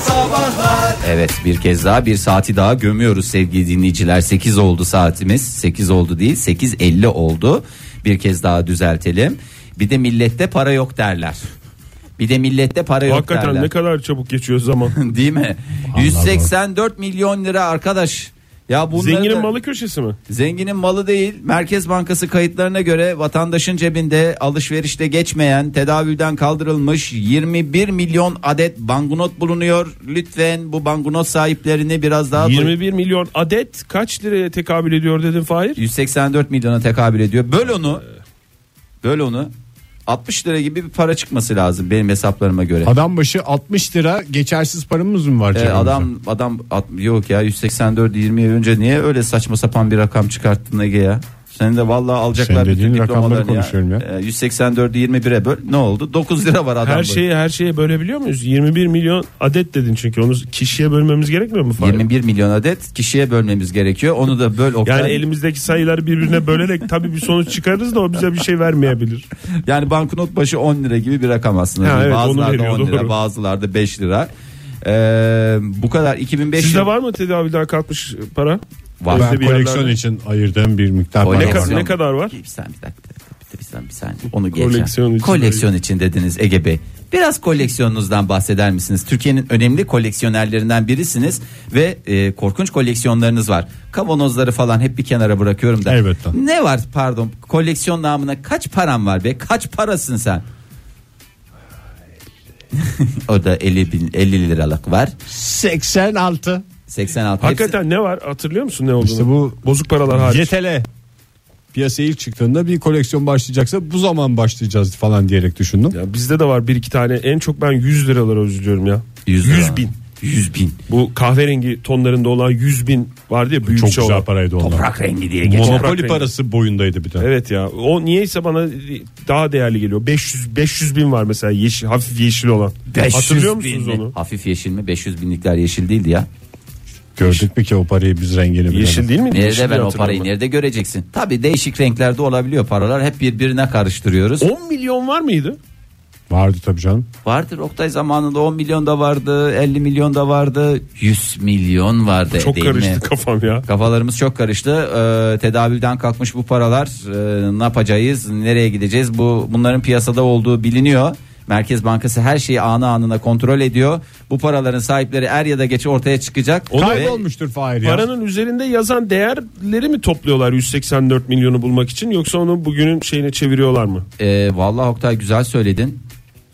sabahlar. Evet bir kez daha bir saati daha gömüyoruz sevgili dinleyiciler. 8 oldu saatimiz. 8 oldu değil 8.50 oldu. Bir kez daha düzeltelim. Bir de millette para yok derler. Bir de millette para yok Hakikaten derler. ne kadar çabuk geçiyor zaman. Değil mi? 184 milyon lira arkadaş. Ya bunları Zenginin da- malı köşesi mi? Zenginin malı değil. Merkez Bankası kayıtlarına göre vatandaşın cebinde alışverişte geçmeyen, tedavülden kaldırılmış 21 milyon adet banknot bulunuyor. Lütfen bu banknot sahiplerini biraz daha 21 milyon adet kaç liraya tekabül ediyor dedin Fahir? 184 milyona tekabül ediyor. Böl onu. Böl onu. 60 lira gibi bir para çıkması lazım benim hesaplarıma göre. Adam başı 60 lira geçersiz paramız mı E, var? Ee, cebimizde? adam adam at- yok ya 184 20 önce niye öyle saçma sapan bir rakam çıkarttın Ege ya? Senin de vallahi alacaklar Senin bütün dediğin rakamları diplomalarını konuşuyorum ya. Ee, 184'ü 21'e böl ne oldu? 9 lira var adam. Her şey- şeyi her şeye bölebiliyor muyuz? 21 milyon adet dedin çünkü onu kişiye bölmemiz gerekmiyor mu Fahir? 21 milyon adet kişiye bölmemiz gerekiyor. Onu da böl Oktay. Yani Yani, elimizdeki sayıları birbirine bölerek tabii bir sonuç çıkarırız da o bize bir şey vermeyebilir. banknot başı 10 lira gibi bir rakam aslında. Ha, evet, onu bazılarda veriyor, 10 lira, doğru. bazılarda 5 lira. Ee, bu kadar 2500 Sizde var mı tedaviden kalkmış para? Var. Bizde bir ben koleksiyon yerlerde- için ayırdığım bir miktar Kolek- para Ne, var. kadar, ne kadar var? Bir saniye bir dakika. bir dakika, Bir saniye, bir saniye. Onu geçeceğim. Koleksiyon Koleksiyon, için- için, dediniz Ege Bey. Biraz koleksiyonunuzdan bahseder misiniz? Türkiye'nin önemli koleksiyonerlerinden birisiniz ve e, korkunç koleksiyonlarınız var. Kavanozları falan hep bir kenara bırakıyorum da. Elbette. Ne var pardon koleksiyon namına kaç param var be? Kaç parasın sen? o da 50 bin 50 liralık var. 86. 86. Hakikaten ne var? Hatırlıyor musun ne olduğunu? İşte bu- bozuk paralar hariç. Yetele. Piyasaya ilk çıktığında bir koleksiyon başlayacaksa bu zaman başlayacağız falan diyerek düşündüm. Ya bizde de var bir iki tane. En çok ben 100 liralara üzülüyorum ya. 100, Yüz bin. 100 bin. Bu kahverengi tonlarında olan 100 bin vardı ya büyükçe Çok güzel olan. paraydı onlar. Toprak rengi diye geçer. Toprak Monopoli rengi. parası boyundaydı bir de. Evet ya o niyeyse bana daha değerli geliyor. 500 500 bin var mesela yeşil hafif yeşil olan. 500 Hatırlıyor bin musunuz mi? onu? Hafif yeşil mi? 500 binlikler yeşil değildi ya. Gördük mü ki o parayı biz rengini bilemedik. Yeşil değil mi? Yeşil Nerede ben diye o hatırlıyorum parayı nerede göreceksin? Tabii değişik renklerde olabiliyor paralar. Hep birbirine karıştırıyoruz. ben. 10 milyon var mıydı? Vardı tabii canım. Vardır Oktay zamanında 10 milyon da vardı, 50 milyon da vardı, 100 milyon vardı Çok değil karıştı mi? kafam ya. Kafalarımız çok karıştı. Ee, tedavülden kalkmış bu paralar. Ee, ne yapacağız? Nereye gideceğiz? Bu bunların piyasada olduğu biliniyor. Merkez Bankası her şeyi anı anına kontrol ediyor. Bu paraların sahipleri er ya da geç ortaya çıkacak. Ve- Kaybolmuştur Fahir ya. Paranın üzerinde yazan değerleri mi topluyorlar 184 milyonu bulmak için yoksa onu bugünün şeyine çeviriyorlar mı? Ee, vallahi Oktay güzel söyledin.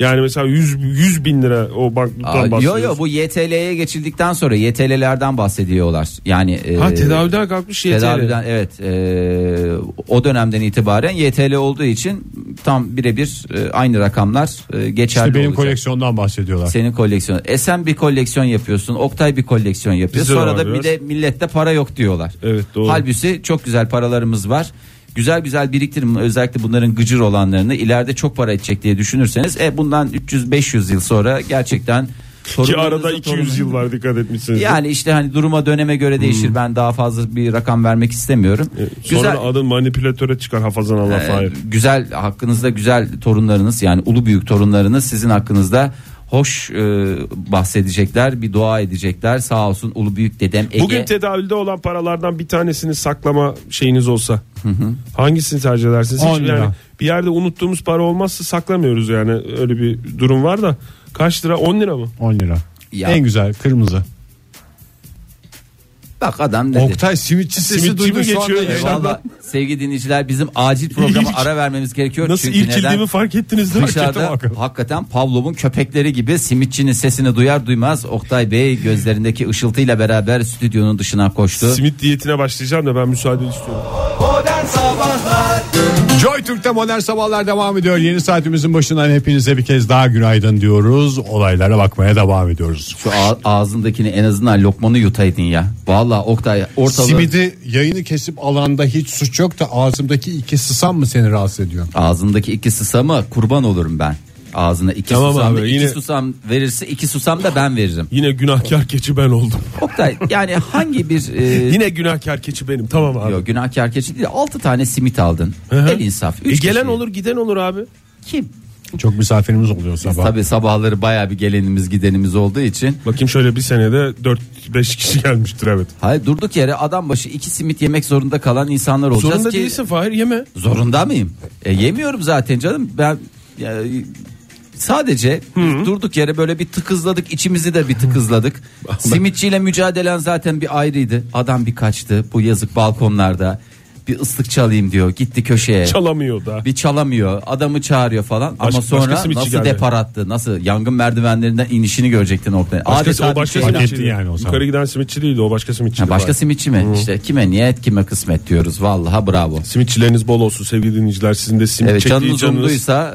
Yani mesela 100, 100 bin lira o Aa, banknottan Yo bahsediyoruz. yo bu YTL'ye geçildikten sonra YTL'lerden bahsediyorlar. Yani e, Ha tedaviden kalkmış YTL. tedaviden evet e, o dönemden itibaren YTL olduğu için tam birebir e, aynı rakamlar e, geçerli İşte benim olacak. koleksiyondan bahsediyorlar. Senin koleksiyon. E sen bir koleksiyon yapıyorsun. Oktay bir koleksiyon yapıyor. Bizde de Sonra var da bir biraz. de millette para yok diyorlar. Evet, doğru. Halbuki çok güzel paralarımız var. Güzel güzel biriktirin özellikle bunların gıcır olanlarını ileride çok para edecek diye düşünürseniz e bundan 300-500 yıl sonra gerçekten Ki torunlarınızın arada 200 yıl torunu- var dikkat etmişsiniz. Yani işte hani duruma döneme göre değişir. Ben daha fazla bir rakam vermek istemiyorum. E, Sonra adın manipülatöre çıkar hafazan Allah Ee, hayır. güzel hakkınızda güzel torunlarınız yani ulu büyük torunlarınız sizin hakkınızda hoş e, bahsedecekler bir dua edecekler sağ olsun ulu büyük dedem Ege Bugün tedavülde olan paralardan bir tanesini saklama şeyiniz olsa hangisini tercih edersiniz? Hiç On lira. yani bir yerde unuttuğumuz para olmazsa saklamıyoruz yani öyle bir durum var da kaç lira 10 lira mı? 10 lira. Ya. En güzel kırmızı. bak adam dedi. Oktay simitçi sesi Simitçi duydu mi şu anda. geçiyor? E, içeriden. Valla sevgili dinleyiciler bizim acil programa ara vermemiz gerekiyor. Nasıl Çünkü irkildiğimi neden? fark ettiniz değil mi? Dışarıda Hakikaten bak. hakikaten Pavlov'un köpekleri gibi simitçinin sesini duyar duymaz Oktay Bey gözlerindeki ışıltıyla beraber stüdyonun dışına koştu. Simit diyetine başlayacağım da ben müsaade istiyorum. Modern Sabahlar Joy Türk'te modern sabahlar devam ediyor. Yeni saatimizin başından hepinize bir kez daha günaydın diyoruz. Olaylara bakmaya devam ediyoruz. Şu ağ- ağzındakini en azından lokmanı yutaydın ya. Valla Oktay ortalığı... Simidi yayını kesip alanda hiç suç yok da ağzımdaki iki sısam mı seni rahatsız ediyor? Ağzındaki iki susama kurban olurum ben. Ağzına iki Tamam susam abi, da iki yine- susam verirse iki susam da ben veririm. Yine günahkar keçi ben oldum. Oktay yani hangi bir e, Yine günahkar keçi benim tamam abi. yok, günahkar keçi değil altı tane simit aldın. El insaf. E, Üç gelen kişi. olur giden olur abi. Kim? Çok misafirimiz oluyor sabah. Tabii sabahları baya bir gelenimiz gidenimiz olduğu için. Bakayım şöyle bir senede 4-5 kişi gelmiştir evet. Hayır durduk yere adam başı iki simit yemek zorunda kalan insanlar olacağız Zorunda ki. değilsin Fahir yeme. Zorunda mıyım? E, yemiyorum zaten canım. Ben ya, sadece durduk yere böyle bir tıkızladık içimizi de bir tıkızladik. Simitçiyle mücadelen zaten bir ayrıydı. Adam bir kaçtı bu yazık balkonlarda. Bir ıslık çalayım diyor. Gitti köşeye. Çalamıyor da. bir çalamıyor. Adamı çağırıyor falan Baş- ama sonra başkası mı içi nasıl geldi? depar attı? Nasıl yangın merdivenlerinden inişini görecektin ortaya. Başkası, Adeta o başka bir şey- Fark simitçi. etti yani o zaman. Yukarı giden simitçi değildi o başka simitçi. Ha, başka simitçi mi? İşte kime niyet kime kısmet diyoruz. Vallahi bravo. Simitçileriniz bol olsun sevgili dinleyiciler. Sizin de simit Evet çektiği canınız canınız. umduysa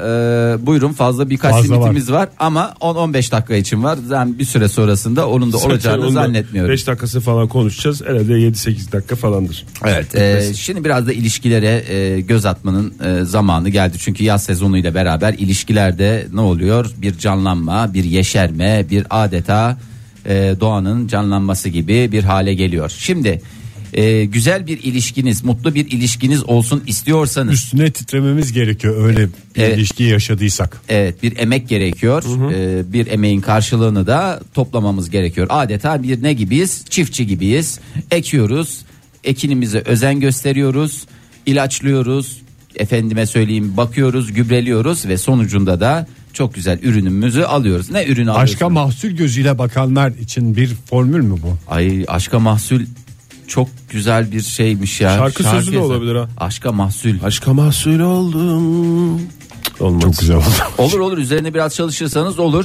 e, buyurun fazla birkaç Fazla simitimiz var. ama 10-15 dakika için var. Yani bir süre sonrasında onun da olacağını zannetmiyorum. 5 dakikası falan konuşacağız. Herhalde 7-8 dakika falandır. Evet. e, şimdi biraz da ilişkilere e, göz atmanın e, zamanı geldi. Çünkü yaz sezonuyla beraber ilişkilerde ne oluyor? Bir canlanma, bir yeşerme, bir adeta e, doğanın canlanması gibi bir hale geliyor. Şimdi e, güzel bir ilişkiniz, mutlu bir ilişkiniz olsun istiyorsanız Üstüne titrememiz gerekiyor öyle bir Evet. ilişki yaşadıysak. Evet bir emek gerekiyor. Ee, bir emeğin karşılığını da toplamamız gerekiyor. Adeta bir ne gibiyiz? Çiftçi gibiyiz. Ekiyoruz. Ekinimize özen gösteriyoruz. ilaçlıyoruz. Efendime söyleyeyim bakıyoruz, gübreliyoruz ve sonucunda da çok güzel ürünümüzü alıyoruz. Ne ürünü alıyoruz? Aşka mahsul gözüyle bakanlar için bir formül mü bu? Ay aşka mahsul çok güzel bir şeymiş ya. Şarkı sözü de olabilir ha. Aşka mahsul. Aşka mahsul oldum. Olmaz. Çok güzel oldu. Olur olur üzerine biraz çalışırsanız olur.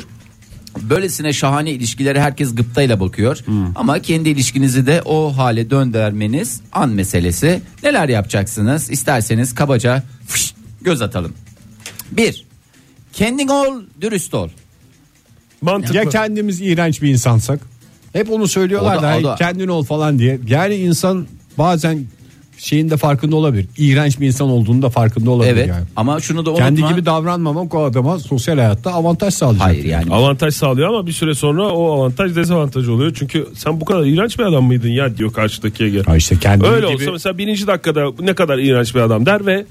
Böylesine şahane ilişkilere herkes gıptayla bakıyor. Hmm. Ama kendi ilişkinizi de o hale döndürmeniz an meselesi. Neler yapacaksınız? İsterseniz kabaca fış, göz atalım. Bir, kendin ol, dürüst ol. Mantıklı. ya kendimiz iğrenç bir insansak? Hep onu söylüyorlar O da- da, o da- "Hey, kendin ol falan diye. Yani insan bazen şeyin de farkında olabilir. İğrenç bir insan olduğunu da farkında olabilir Evet yani. ama şunu da unutma. Kendi gibi davranmamak o adama sosyal hayatta avantaj sağlayacak. Hayır yani. Avantaj sağlıyor ama bir süre sonra o avantaj dezavantaj oluyor. Çünkü sen bu kadar iğrenç bir adam mıydın ya diyor karşıdakiye göre. Ha işte kendi Öyle gibi olsa mesela birinci dakikada ne kadar iğrenç bir adam der ve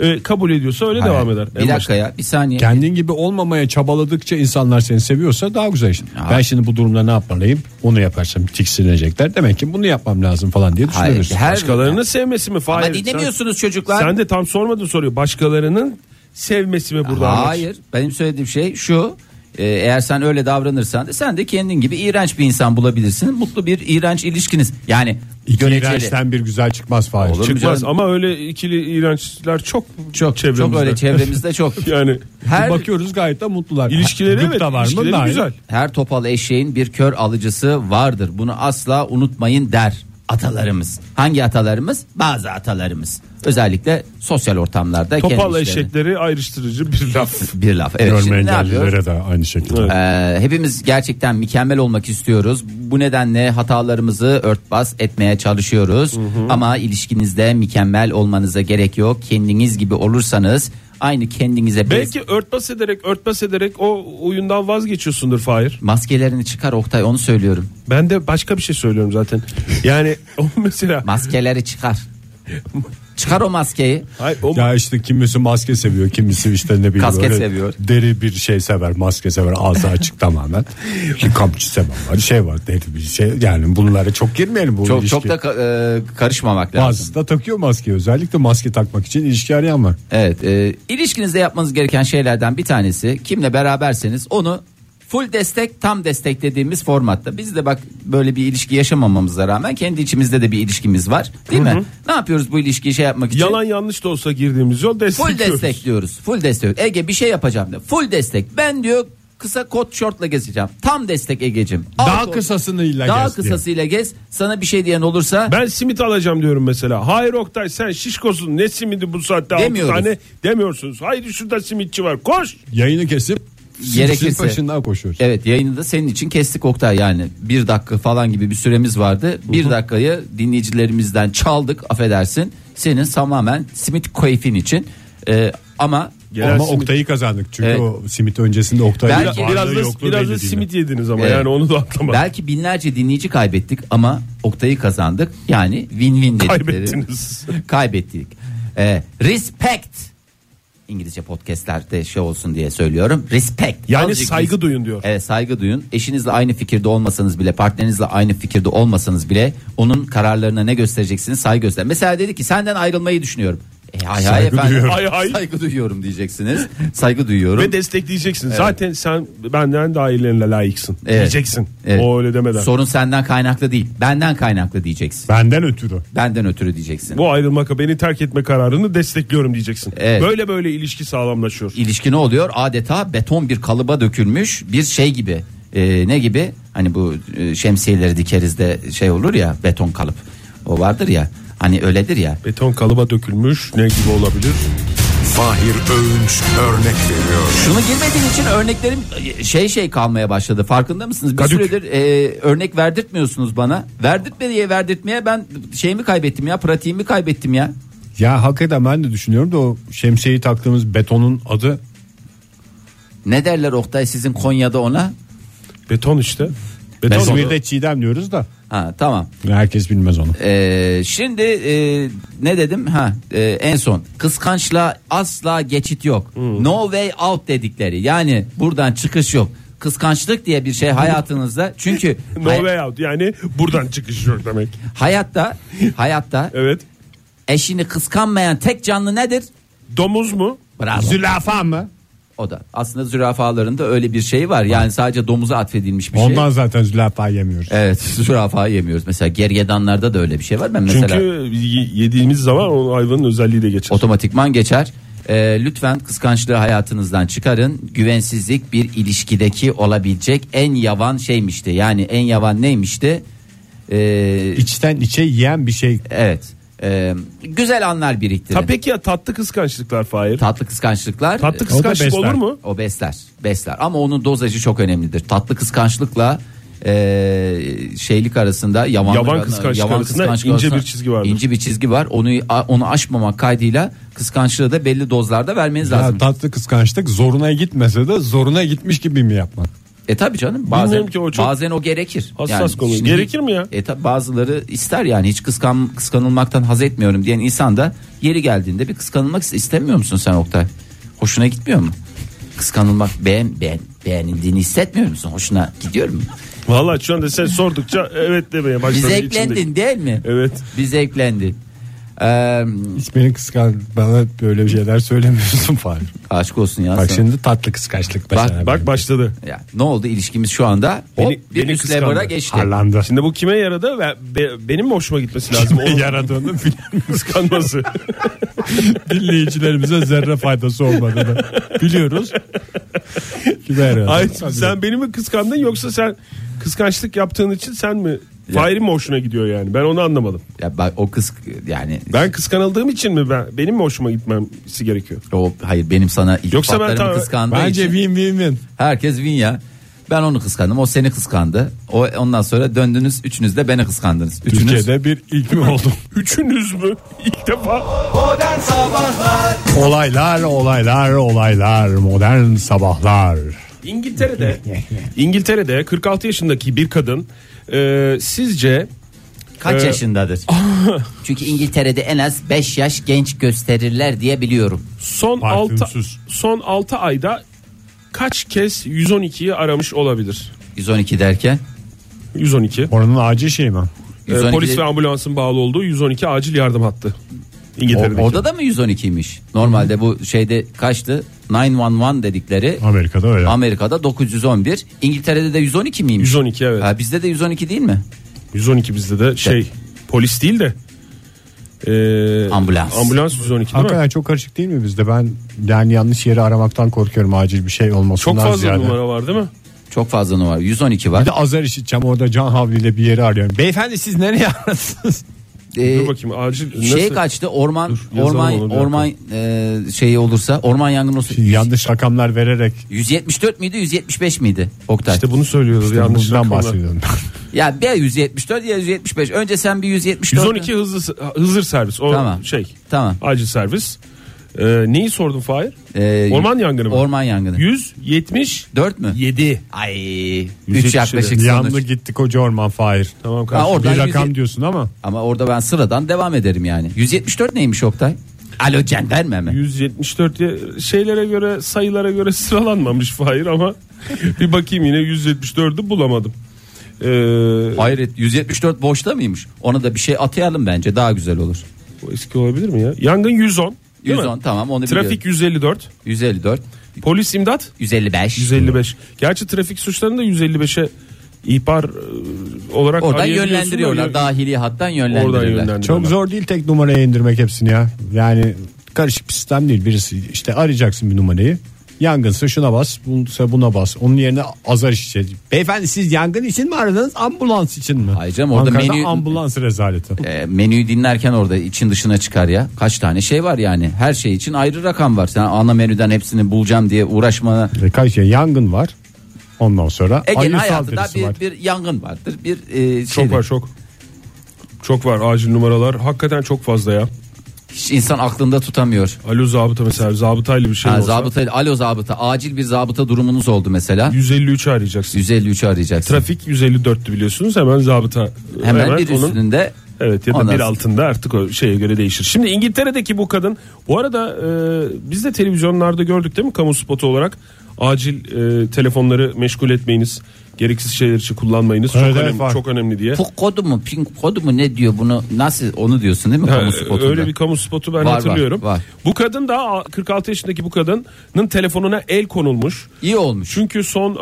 e, kabul ediyorsa öyle devam eder. E, En Bir dakika başta. ya bir saniye. kendin gibi olmamaya çabaladıkça insanlar seni seviyorsa daha güzel işte. Ya. Ben şimdi bu durumda ne yapmalıyım? Onu yaparsam tiksinecekler. Demek ki bunu yapmam lazım falan diye Hayır, düşünüyorsun. her- Başkalarını sevmesi mi? Fahir, Ama sen- dinlemiyorsunuz çocuklar. Sen de tam sormadın soruyu. Başkalarının sevmesi mi burada? amaç? Hayır benim söylediğim şey şu e, eğer sen öyle davranırsan da sen de kendin gibi iğrenç bir insan bulabilirsin. Mutlu bir iğrenç ilişkiniz. Yani İki göreceli. iğrençten bir güzel çıkmaz Fahir. Olur. Çıkmaz Canım. ama öyle ikili iğrençler çok Çok çevremizde. çok öyle çevremizde çok. yani Her Bakıyoruz gayet de mutlular. ilişkileri Gıpta evet, var mı? ilişkileri Hayır. güzel. her topal eşeğin bir kör alıcısı vardır. Bunu asla unutmayın der atalarımız. Hangi atalarımız? Bazı atalarımız. Özellikle sosyal ortamlarda Topal kendi işlerini- eşekleri ayrıştırıcı bir laf. bir laf. Evet Görme şimdi ne yapıyoruz? engellilere de aynı şekilde. Evet. Ee, hepimiz gerçekten mükemmel olmak istiyoruz. Bu nedenle hatalarımızı örtbas etmeye çalışıyoruz. Ama ilişkinizde mükemmel olmanıza gerek yok. Kendiniz gibi olursanız aynı kendinize bez- Belki örtbas ederek örtbas ederek o oyundan vazgeçiyorsundur Fahir. maskelerini çıkar Oktay onu söylüyorum. Ben de başka bir şey söylüyorum zaten. Yani o mesela Maskeleri çıkar. çıkar o maskeyi. Hayır, o Ya işte kimisi maske seviyor, kimisi işte ne bileyim Kasket böyle seviyor. Deri bir şey sever, maske sever, ağzı açık tamamen. Bir kamçı seven var, şey var, deri bir şey. Yani bunlara çok girmeyelim bu Çok ilişki. çok da ka- e, karışmamak lazım. Bazısı da takıyor maskeyi. Özellikle maske takmak için ilişki arayan var. Evet, e, ilişkinizde yapmanız gereken şeylerden bir tanesi kimle beraberseniz onu full destek, tam destek dediğimiz formatta. Biz de bak böyle bir ilişki yaşamamamıza rağmen kendi içimizde de bir ilişkimiz var, değil mi? Ne yapıyoruz bu ilişkiyi şey yapmak için? yalan yanlış da olsa girdiğimiz yol full destekliyoruz. destekliyoruz. Full destek. Ege bir şey yapacağım diyor. Full destek. Ben diyor kısa kot şortla gezeceğim. Tam destek Egecim. Al Daha kot- kısasınıyla daha gez diye. kısasıyla gez. Sana bir şey diyen olursa Ben simit alacağım diyorum mesela. Hayır Oktay sen şişkosun ne simidi bu saatte altı Demiyoruz. tane demiyorsunuz. Haydi şurada simitçi var koş. Yayını kesip Gerekirse. Gerekirse. peşinden koşuyoruz. Evet yayını da senin için kestik Oktay yani. Bir dakika falan gibi bir süremiz vardı. Bir dakikayı dinleyicilerimizden çaldık affedersin. Senin tamamen simit keyfin için. Ee, ama Gelen ama simit- Oktay'ı kazandık çünkü Evet. o simit öncesinde Oktay'ın Belki varlığı Biraz da, yokluğu biraz da belli değil. simit yediniz ama Evet. yani onu da atlamadım. belki binlerce dinleyici kaybettik ama Oktay'ı kazandık. Yani win-win dedikleri. Kaybettiniz. Kaybettik. Ee, respect. İngilizce podcastlerde şey olsun diye söylüyorum. Respect. Yani Azıcık saygı duyun diyor. Evet saygı duyun. Eşinizle aynı fikirde olmasanız bile, partnerinizle aynı fikirde olmasanız bile onun kararlarına ne göstereceksiniz? Saygı göster. Mesela dedi ki senden ayrılmayı düşünüyorum. E, hay hay Saygı efendim. duyuyorum. Hay hay. Saygı duyuyorum diyeceksiniz. Saygı duyuyorum. Ve destekleyeceksin. Zaten sen benden daha iyilerine layıksın. Evet. Diyeceksin. Evet. O öyle demeden. Sorun senden kaynaklı değil. Benden kaynaklı diyeceksin. Benden ötürü. Benden ötürü diyeceksin. Bu ayrılmak beni terk etme kararını destekliyorum diyeceksin. Evet. Böyle böyle ilişki sağlamlaşıyor. ilişki ne oluyor? Adeta beton bir kalıba dökülmüş bir şey gibi. Ee, ne gibi? Hani bu e, şemsiyeleri dikeriz de şey olur ya beton kalıp. O vardır ya. Hani öyledir ya. Beton kalıba dökülmüş ne gibi olabilir? Fahir Öğünç örnek veriyor. Şunu girmediğin için örneklerim şey şey kalmaya başladı. Farkında mısınız? Bir Kadük. süredir e, örnek verdirtmiyorsunuz bana. Verdirtme diye verdirtmeye ben şeyimi kaybettim ya. Pratiğimi kaybettim ya. Ya hakikaten ben de düşünüyorum da o şemsiyeyi taktığımız betonun adı Ne derler Oktay sizin Konya'da ona? Beton işte. Beton İzmir'de çiğdem diyoruz da Ha tamam. herkes bilmez onu. Ee, şimdi e, ne dedim? Ha e, en son kıskançla asla geçit yok. Hmm. No way out dedikleri. Yani buradan çıkış yok. Kıskançlık diye bir şey hayatınızda. Çünkü No hay- way out yani buradan çıkış yok demek. hayatta hayatta Evet. eşini kıskanmayan tek canlı nedir? Domuz mu? Bravo. Zülafa mı? o da aslında zürafaların da öyle bir şey var. Yani sadece domuza atfedilmiş bir şey. Ondan zaten zülafa yemiyoruz. Evet, zürafayı yemiyoruz. Mesela gergedanlarda da öyle bir şey var. Ben mesela Çünkü y- yediğimiz zaman o hayvanın özelliği de geçer. otomatikman geçer. Ee, lütfen kıskançlığı hayatınızdan çıkarın. Güvensizlik bir ilişkideki olabilecek en yavan şeymişti. Yani en yavan neymişti? Ee, İçten içe yiyen bir şey. evet. Ee, güzel anlar biriktirin. Ta peki ya tatlı kıskançlıklar Fahir? Tatlı kıskançlıklar. e, tatlı O da kıskançlık besler. olur mu? O besler, besler. Ama onun dozajı çok önemlidir. Tatlı kıskançlıkla e, şeylik arasında yavan, Yavan kıskançlık arasında ince bir çizgi vardır. İnce bir çizgi var. Onu a- onu aşmamak kaydıyla kıskançlığı da belli dozlarda vermeniz lazım. Ya tatlı kıskançlık zoruna gitmese de zoruna gitmiş gibi mi yapmak? E tabi canım bazen Bilmiyorum ki o çok bazen o gerekir. hassas konu. şimdi- Gerekir mi ya? E tabi bazıları ister yani hiç kıskan kıskanılmaktan haz etmiyorum diyen insan da yeri geldiğinde bir kıskanılmak is- istemiyor musun sen Oktay? Hoşuna gitmiyor mu? Kıskanılmak beğen beğen beğenildiğini hissetmiyor musun? Hoşuna gidiyor mu? Vallahi şu anda sen sordukça evet demeye Bir başladım. içimdeki. zevklendin değil mi? Evet. Bir zevklendin. Ee, Hiç beni kıskan bana böyle şeyler söylemiyorsun falan. aşk olsun ya. Bak sana. şimdi tatlı kıskançlık mesela. Bak başladı. Ya, ne oldu ilişkimiz şu anda? Hop, Beni- bir beni üst kıskandı. level'a geçti. Harlandı. Şimdi bu kime yaradı? Ve be- benim mi hoşuma gitmesi lazım? Kime Onun yaradığını bilen kıskanması. dinleyicilerimize zerre faydası olmadığını biliyoruz. Kime yaradı? Ay, sen beni mi kıskandın yoksa sen kıskançlık yaptığın için sen mi? Fahir'in mi hoşuna gidiyor yani? Ben onu anlamadım. Ya bak o kız yani Ben kıskanıldığım için mi ben benim mi hoşuma gitmemesi gerekiyor? O hayır benim sana Yoksa ben iltifatlarımı tamam- kıskandığı Bence için win win win. herkes win ya. Ben onu kıskandım, o seni kıskandı. O ondan sonra döndünüz üçünüz de beni kıskandınız. Üçünüz. Türkiye'de bir ilk mi oldu? Üçünüz mü? İlk defa Modern Sabahlar Olaylar, olaylar, olaylar, modern sabahlar. İngiltere'de İngiltere'de 46 yaşındaki bir kadın e, sizce Kaç Ee, yaşındadır? Çünkü İngiltere'de en az 5 yaş genç gösterirler diye biliyorum. son 6 Parfümsüz. son 6 ayda kaç kez 112'yi aramış olabilir? 112 derken 112. Oranın acil şey mi? E, 112 polis ve ambulansın bağlı olduğu 112 acil yardım hattı. İngiltere'deki. O- orada da mı 112'ymiş? Normalde bu şeyde kaçtı? 911 dedikleri Amerika'da öyle. Amerika'da 911, İngiltere'de de 112 miymiş? 112 evet. Ha, bizde de 112 değil mi? 112 bizde de şey polis değil de e, Ambulans. Ambulans 112 değil mi? Hakikaten çok karışık değil mi bizde? Ben yani yanlış yeri aramaktan korkuyorum acil bir şey olmasından Çok fazla ziyade. numara var değil mi? Çok fazla numara. 112 Bir var. de azar işiteceğim orada can havliyle bir yeri arıyorum. Beyefendi siz nereye aradınız? Ee, Dur bakayım acil Şeye nasıl? Şey kaçtı orman yazalım orman onu bir Şey- orman e, şeyi olursa orman yangını olursa Şimdi yanlış rakamlar vererek 174 miydi 175 miydi Oktay? İşte bunu söylüyoruz işte yanlış bundan rakamlar. bahsediyorum. Ya bir 174 ya 175. Önce sen bir 174. 112 hızlı hızır servis o Tamam. şey. Tamam. Acil servis. Ee, neyi sordun Fahir? Ee, orman yangını mı? Orman yangını. 170 4 mü? 7. Ay 3 177. yaklaşık Yandı sonuç. gitti koca orman fahir. Tamam Ha, kardeşim. oradan bir rakam 100 diyorsun ama Ama orada ben sıradan devam ederim yani. 174 neymiş Oktay? Alo jandarma mı? 174 ye- şeylere göre sayılara göre sıralanmamış Fahir ama bir bakayım yine 174'ü bulamadım. Ee, Hayret 174 boşta mıymış? Ona da bir şey atayalım bence daha güzel olur. bu eski olabilir mi ya? Yangın 110. değil mi? 110 tamam onu Trafik biliyorum. 154. 154, Polis imdat 155. 155. Gerçi trafik suçlarını da 155'e ihbar e, olarak Oradan arayabiliyorsun da yönlendiriyorlar. yö- Dahili hattan yönlendiriyorlar. Oradan yönlendiriyorlar. Çok zor değil tek numaraya indirmek hepsini ya. Yani karışık bir sistem değil. Birisi işte arayacaksın bir numarayı. Yangınsa şuna bas, bunsa buna bas. Onun yerine azar işleyecek. Beyefendi siz yangın için mi aradınız, ambulans için mi? Hayır canım, orada Ankara'da menü- ambulans rezaleti. E, menüyü dinlerken orada için dışına çıkar ya. Kaç tane şey var yani. Her şey için ayrı rakam var. Sen ana menüden hepsini bulacağım diye uğraşmana. E, Kaç ya yangın var. Ondan sonra Ege'nin ayı hayatında saldırısı var. bir, bir yangın vardır. Bir e, Çok şeydir. var çok. Çok var acil numaralar. Hakikaten çok fazla ya. Hiç insan aklında tutamıyor. Alo zabıta mesela zabıtayla bir şey Ha, olsa. zabıta, alo zabıta. Acil bir zabıta durumunuz oldu mesela. 153'ü arayacaksın. 153'ü arayacaksın. Trafik 154'tü biliyorsunuz. Hemen zabıta e, Hemen, bir üstünde. Evet ya da Ondan bir sonra- altında artık o şeye göre değişir. Şimdi İngiltere'deki bu kadın bu arada e, biz de televizyonlarda gördük değil mi kamu spotu olarak acil e, telefonları meşgul etmeyiniz. Gereksiz şeyler için kullanmayınız. Evet, çok evet, önemli var. çok önemli diye. Puk kodu mu pink kodu mu ne diyor bunu nasıl onu diyorsun değil mi Ha, e, kamu spotunda? Öyle bir kamu spotu ben Var, var, hatırlıyorum. var. Bu kadın da 46 yaşındaki bu kadının telefonuna el konulmuş. İyi olmuş. Çünkü son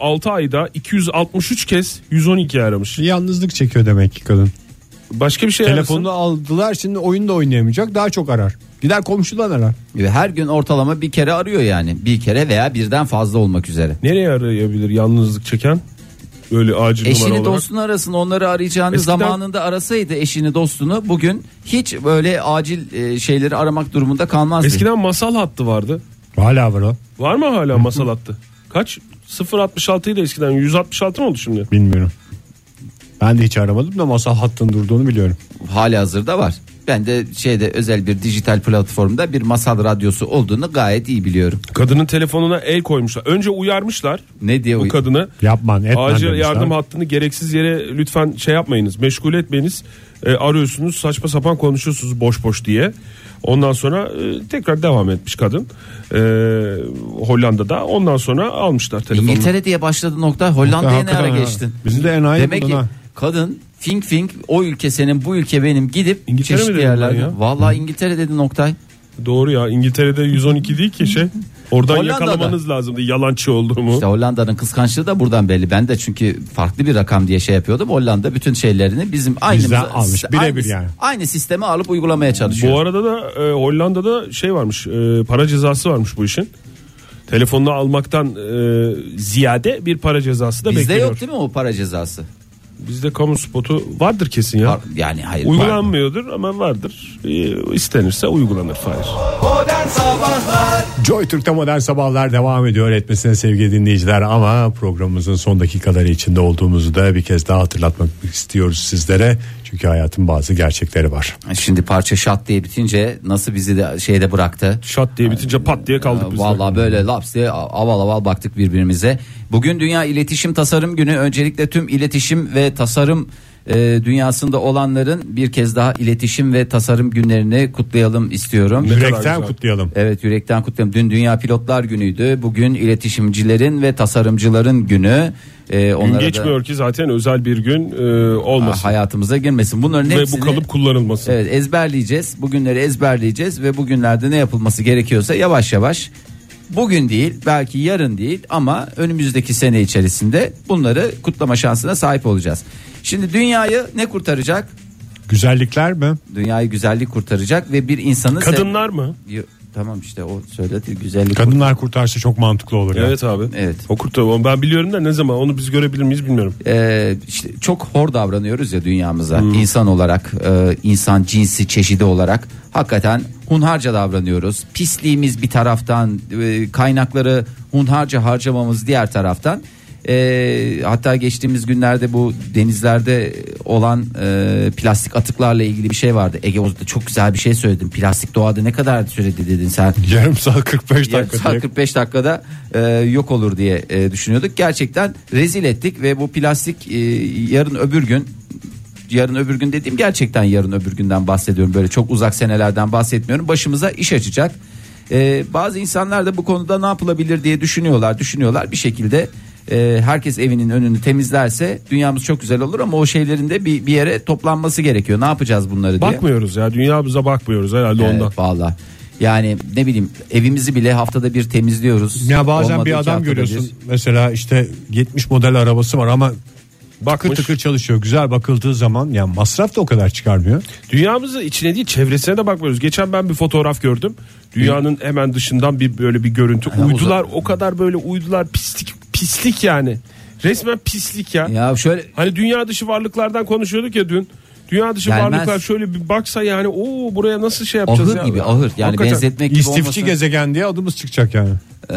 6 ayda 263 kez 112 aramış. Yalnızlık çekiyor demek ki kadın. Başka bir şey Telefonunu aldılar şimdi oyun da oynayamayacak daha çok arar. Gider komşudan arar. Ve Her gün ortalama bir kere arıyor yani. Bir kere veya birden fazla olmak üzere. Nereye arayabilir yalnızlık çeken? Böyle acil numara Eşini olarak. dostunu arasın onları arayacağını Eskiden- zamanında arasaydı eşini dostunu bugün hiç böyle acil e, şeyleri aramak durumunda kalmazdı. Eskiden masal hattı vardı. Hala var o. Var mı hala masal hattı? Kaç? 066 idi eskiden 166 mı oldu şimdi? Bilmiyorum. Ben de hiç aramadım da masal hattının durduğunu biliyorum. hali hazırda var. Ben de şeyde özel bir dijital platformda bir masal radyosu olduğunu gayet iyi biliyorum. Kadının telefonuna el koymuşlar. Önce uyarmışlar Ne diye bu uy- kadını. Yapman etmen Acil demişler. yardım hattını gereksiz yere lütfen şey yapmayınız. Meşgul etmeyiniz. E, arıyorsunuz saçma sapan konuşuyorsunuz boş boş diye. Ondan sonra e, tekrar devam etmiş kadın. E, Hollanda'da. Ondan sonra almışlar telefonunu. İngiltere diye başladı nokta Hollanda'ya ne ara Hakikaten ha. geçtin? Bizi de enayi Demek buldun ki ha. kadın fink fink o ülke senin bu ülke benim gidip İngiltere mi çeşitli dedim ben yerlerde. ya? Vallahi İngiltere dedi Noktay. Doğru ya İngiltere'de 112 değil ki şey. Oradan Hollanda'da. yakalamanız lazımdı yalancı olduğumu. İşte Hollanda'nın kıskançlığı da buradan belli. Ben de çünkü farklı bir rakam diye şey yapıyordum. Hollanda bütün şeylerini bizim aynı almış, birebir yani. Aynı sistemi alıp uygulamaya çalışıyor. Bu arada da e, Hollanda'da şey varmış e, para cezası varmış bu işin. Telefonunu almaktan e, ziyade bir para cezası da Bizde bekliyor. yok değil mi o para cezası? Bizde kamu spotu vardır kesin ya. Var- E, Yani hayır. var mı? Uygulanmıyordur ama vardır. E, istenirse uygulanır Fahir. Modern Sabahlar Joy Türk'te modern sabahlar devam ediyor etmesine sevgili dinleyiciler ama programımızın son dakikaları içinde olduğumuzu da bir kez daha hatırlatmak istiyoruz sizlere. Çünkü hayatın bazı gerçekleri var. Şimdi parça şat diye bitince nasıl bizi de şeyde bıraktı? Ee, Şat diye bitince pat diye kaldık biz. de. Vallahi böyle laps diye aval aval baktık birbirimize. Bugün Dünya İletişim Tasarım Günü. Öncelikle tüm iletişim ve tasarım e, dünyasında olanların bir kez daha iletişim ve tasarım günlerini kutlayalım istiyorum. Yürekten güzel. kutlayalım. Evet yürekten kutlayalım. Dün Dünya Pilotlar Günü'ydü. Bugün iletişimcilerin ve tasarımcıların günü. E, Gün onlara geçmiyor ki zaten özel bir gün e, da olmasın. hayatımıza girmesin. Bunların Ve hepsini bu kalıp kullanılmasın. Evet ezberleyeceğiz. Bugünleri ezberleyeceğiz ve bugünlerde ne yapılması gerekiyorsa yavaş yavaş bugün değil belki yarın değil ama önümüzdeki sene içerisinde bunları kutlama şansına sahip olacağız. Şimdi dünyayı ne kurtaracak? Güzellikler mi? Dünyayı güzellik kurtaracak ve bir insanı Kadınlar mı? Yo- Tamam işte o söyledi güzellik. kurt- Kadınlar kurtarsa çok mantıklı olur. ya. Evet abi. Evet. O kurtarıyor. Ben biliyorum da ne zaman onu biz görebilir miyiz bilmiyorum. Ee, işte çok hor davranıyoruz ya dünyamıza insan olarak e, insan cinsi çeşidi olarak hakikaten hunharca davranıyoruz pisliğimiz bir taraftan e, kaynakları hunharca harcamamız diğer taraftan E, hatta geçtiğimiz günlerde bu denizlerde olan e, plastik atıklarla ilgili bir şey vardı Ege Oğuz'da çok güzel bir şey söyledin plastik doğada ne kadar sürede dedin sen Yarım saat 45 Yarım dakika. saat direkt. 45 dakikada e, yok olur diye e, düşünüyorduk. Gerçekten rezil ettik ve bu plastik e, yarın öbür gün yarın öbür gün dediğim gerçekten yarın öbür günden bahsediyorum. Böyle çok uzak senelerden bahsetmiyorum. Başımıza iş açacak. Ee, bazı insanlar da bu konuda ne yapılabilir diye düşünüyorlar, düşünüyorlar bir şekilde. e, herkes evinin önünü temizlerse dünyamız çok güzel olur ama o şeylerin de bir, bir yere toplanması gerekiyor. Ne yapacağız bunları diye. Bakmıyoruz ya dünyamıza bakmıyoruz herhalde Evet, ondan. Valla. Yani ne bileyim evimizi bile haftada bir temizliyoruz. Ya bazen Olmadı iki bir adam haftada görüyorsun bir. mesela işte 70 model arabası var ama bakır Bakmış. tıkır çalışıyor. Güzel bakıldığı zaman yani masraf da o kadar çıkarmıyor. Dünyamızın içine değil çevresine de bakmıyoruz. Geçen ben bir fotoğraf gördüm. Dünyanın hemen dışından bir böyle bir görüntü. Aynen, uydular uzak- o kadar böyle uydular pislik pislik yani. Resmen pislik ya. Ya şöyle Hani dünya dışı varlıklardan konuşuyorduk ya dün. Dünya dışı Gelmez. varlıklar şöyle bir baksa yani o buraya nasıl şey yapacağız ahır ya? gibi ahır yani Hakikaten. benzetmek gibi İstifçi olmasın. gezegen diye adımız çıkacak yani. Ee,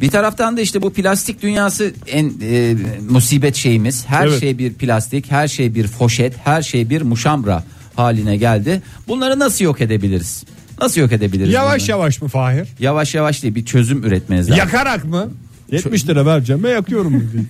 bir taraftan da işte bu plastik dünyası en e, musibet şeyimiz. Her Evet. şey bir plastik, her şey bir foşet, her şey bir muşamra haline geldi. Bunları nasıl yok edebiliriz? Nasıl yok edebiliriz? Yavaş bunları? yavaş mı Fahir? Yavaş yavaş değil bir çözüm üretmeniz lazım. Yakarak mı? 70 lira vereceğim ben yakıyorum.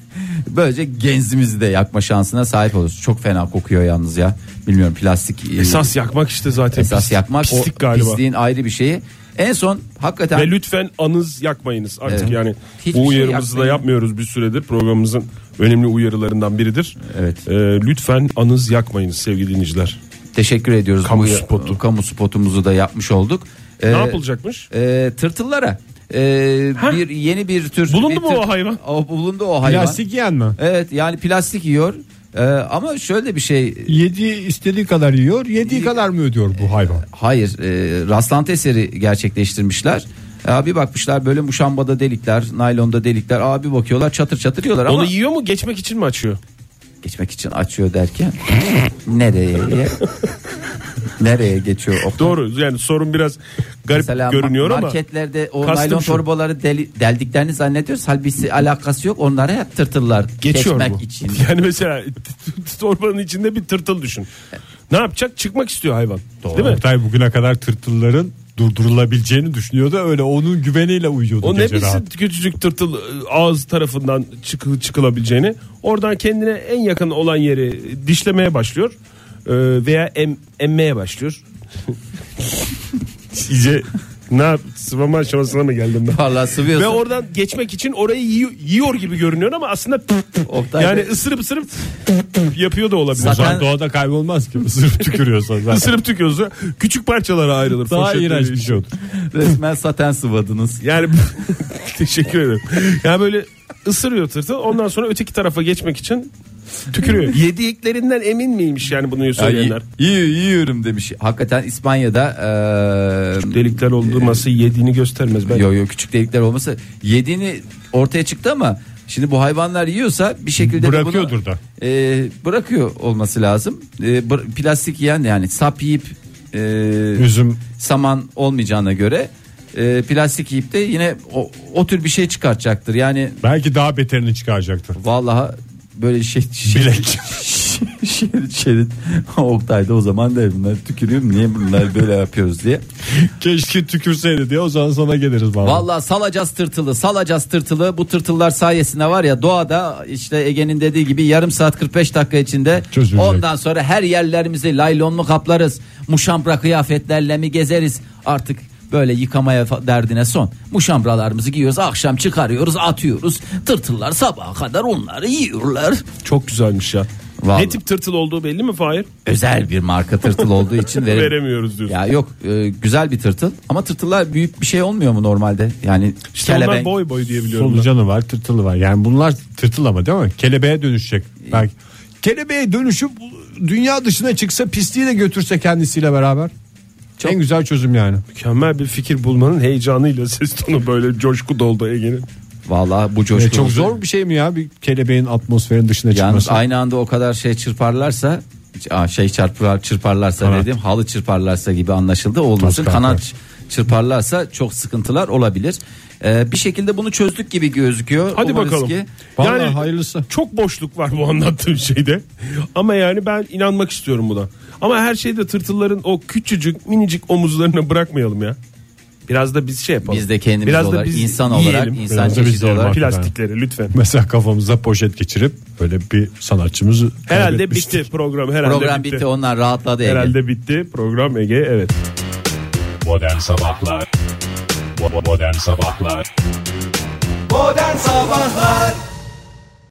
Böylece genzimizi de yakma şansına sahip oluruz. Çok fena kokuyor yalnız ya. Bilmiyorum plastik e, Esas yakmak işte zaten. esas Pis- yakmak Pislik o galiba. pisliğin ayrı bir şeyi. En son hakikaten Ve lütfen anız yakmayınız artık Evet. yani Hiçbir şey bu uyarımızı da yakmayın. yapmıyoruz bir süredir programımızın önemli uyarılarından biridir. Evet. Ee, lütfen anız yakmayınız sevgili dinleyiciler. teşekkür ediyoruz. Kamu Bu- spotu. Kamu spotumuzu da yapmış olduk. Ee, ne yapılacakmış? e, tırtıllara e, Ha? bir yeni bir tür Bulundu bir mu o hayvan? O, bulundu o hayvan. Plastik yiyen mi? Evet yani plastik yiyor. E, ama şöyle bir şey Yediği istediği kadar yiyor, yediği kadar mı ödüyor bu hayvan? hayır e, rastlantı eseri gerçekleştirmişler. Ee, Abi bakmışlar böyle muşambada delikler, naylonda delikler. Abi bakıyorlar çatır çatır yiyorlar ama Onu yiyor mu geçmek için mi açıyor? geçmek için açıyor derken nereye nereye geçiyor o Doğru yani sorun biraz garip Mesela görünüyor ama marketlerde o Kastım naylon şu. torbaları deli- deldiklerini zannediyoruz. Halbuki alakası yok. Onlara hep tırtırlar. geçiyor Geçmek mu? için. Yani mesela torbanın içinde bir tırtıl düşün. Ne yapacak? Çıkmak istiyor hayvan. Değil mi? Oktay bugüne kadar tırtılların durdurulabileceğini düşünüyordu. Öyle onun güveniyle uyuyordu O ne gece rahat. bilsin küçücük tırtıl e, ağız tarafından çıkı, çıkılabileceğini. Oradan kendine en yakın olan yeri dişlemeye başlıyor. E, veya em, emmeye başlıyor. İyice ne yap? Sıvama aşamasına mı geldim ben? Vallahi sıvıyorsun. Ve oradan geçmek için orayı yiyor, yiyor gibi görünüyor ama aslında Oktay yani Bey. ısırıp ısırıp yapıyor da olabilir. Zaten- Uzak doğada kaybolmaz ki ısırıp tükürüyorsa zaten. Isırıp tüküyorsa küçük parçalara ayrılır. Daha Poşetleri iğrenç bir şey olur. Resmen saten sıvadınız. Yani teşekkür ederim. Ya böyle ısırıyor tırtıl ondan sonra öteki tarafa geçmek için tükürüyor. Yediklerinden emin miymiş yani bunu söyleyenler? yiyorum demiş. Hakikaten İspanya'da eee Delikler e, olması yediğini göstermez ben. yo yo küçük delikler olması yediğini ortaya çıktı ama şimdi bu hayvanlar yiyorsa bir şekilde de bunu- Bırakıyordur da. Eee, bırakıyor olması lazım. Eee, bır- plastik yiyen de yani sap yiyip eee Üzüm saman olmayacağına göre e, plastik yiyip de yine o, o tür bir şey çıkartacaktır. Yani belki daha beterini çıkaracaktır. vallahi böyle şey Bilek. şerit şerit Oktay'da o zaman der bunlar tükürüyorum niye bunlar böyle yapıyoruz diye. Keşke tükürseydi diye o zaman sana geliriz bana. Vallahi salacağız tırtılı salacağız tırtılı bu tırtıllar sayesinde var ya doğada işte Ege'nin dediği gibi yarım saat 45 dakika içinde Çözülecek. ondan sonra her yerlerimizi laylon mu kaplarız muşambra kıyafetlerle mi gezeriz artık böyle yıkamaya fa- derdine son muşambralarımızı giyiyoruz akşam çıkarıyoruz atıyoruz tırtıllar sabaha kadar onları yiyorlar. Çok güzelmiş ya. Vallahi. Ne tip tırtıl olduğu belli mi Fahir? Özel bir marka tırtıl olduğu için verem- Veremiyoruz diyorsun. Ya yok e, güzel bir tırtıl ama tırtıllar büyük bir şey olmuyor mu normalde? Yani İşte onlar kelebek boy boy diye biliyorum. ben. Solucanı var, tırtılı var. Yani bunlar tırtıl ama değil mi? Kelebeğe dönüşecek. Belki kelebeğe dönüşüp dünya dışına çıksa pisliği de götürse kendisiyle beraber. En güzel çözüm yani. Mükemmel bir fikir bulmanın heyecanıyla ses tonu böyle coşku doldu Ege'nin. Vallahi E, bu Ve coşku. çok zor bir şey mi ya bir kelebeğin atmosferin dışına Yalnız çıkması? aynı anda o kadar şey çırparlarsa aa, şey çarpar çırparlarsa dedim halı çırparlarsa gibi anlaşıldı olmasın Toz kanat kalkar. çırparlarsa çok sıkıntılar olabilir. E, bir şekilde bunu çözdük gibi gözüküyor. Hadi Umarız bakalım. ki- Vallahi hayırlısı. Çok boşluk var bu anlattığım şeyde. Ama yani ben inanmak istiyorum buna. Ama her şeyde tırtılların o küçücük minicik omuzlarına bırakmayalım ya. Biraz da biz şey yapalım. Biz de kendimiz olarak, insan olarak, insan Biraz da biz çeşidi de olarak. olmak. plastikleri lütfen. Mesela kafamıza poşet geçirip böyle bir sanatçımızı Herhalde kaybetmiştik. bitti program. Herhalde Program bitti. onlar rahatladı. Ege. Herhalde bitti program Ege evet. Modern Sabahlar Bo- Modern Sabahlar Modern Sabahlar